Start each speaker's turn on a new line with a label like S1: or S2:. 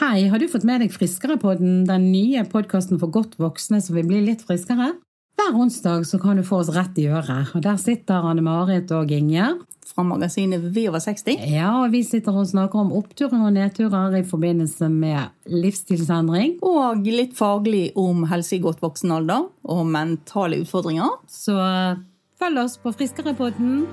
S1: Hei, har du fått med deg Friskere-podden, den nye podkasten for godt voksne som vil bli litt friskere? Hver onsdag så kan du få oss rett i øret, og der sitter Anne Marit og Ingjerd.
S2: Fra magasinet Vi over 60.
S1: Ja, og vi sitter og snakker om oppturer og nedturer i forbindelse med livsstilsendring.
S2: Og litt faglig om helse i godt voksen alder og mentale utfordringer.
S1: Så følg oss på Friskere-podden.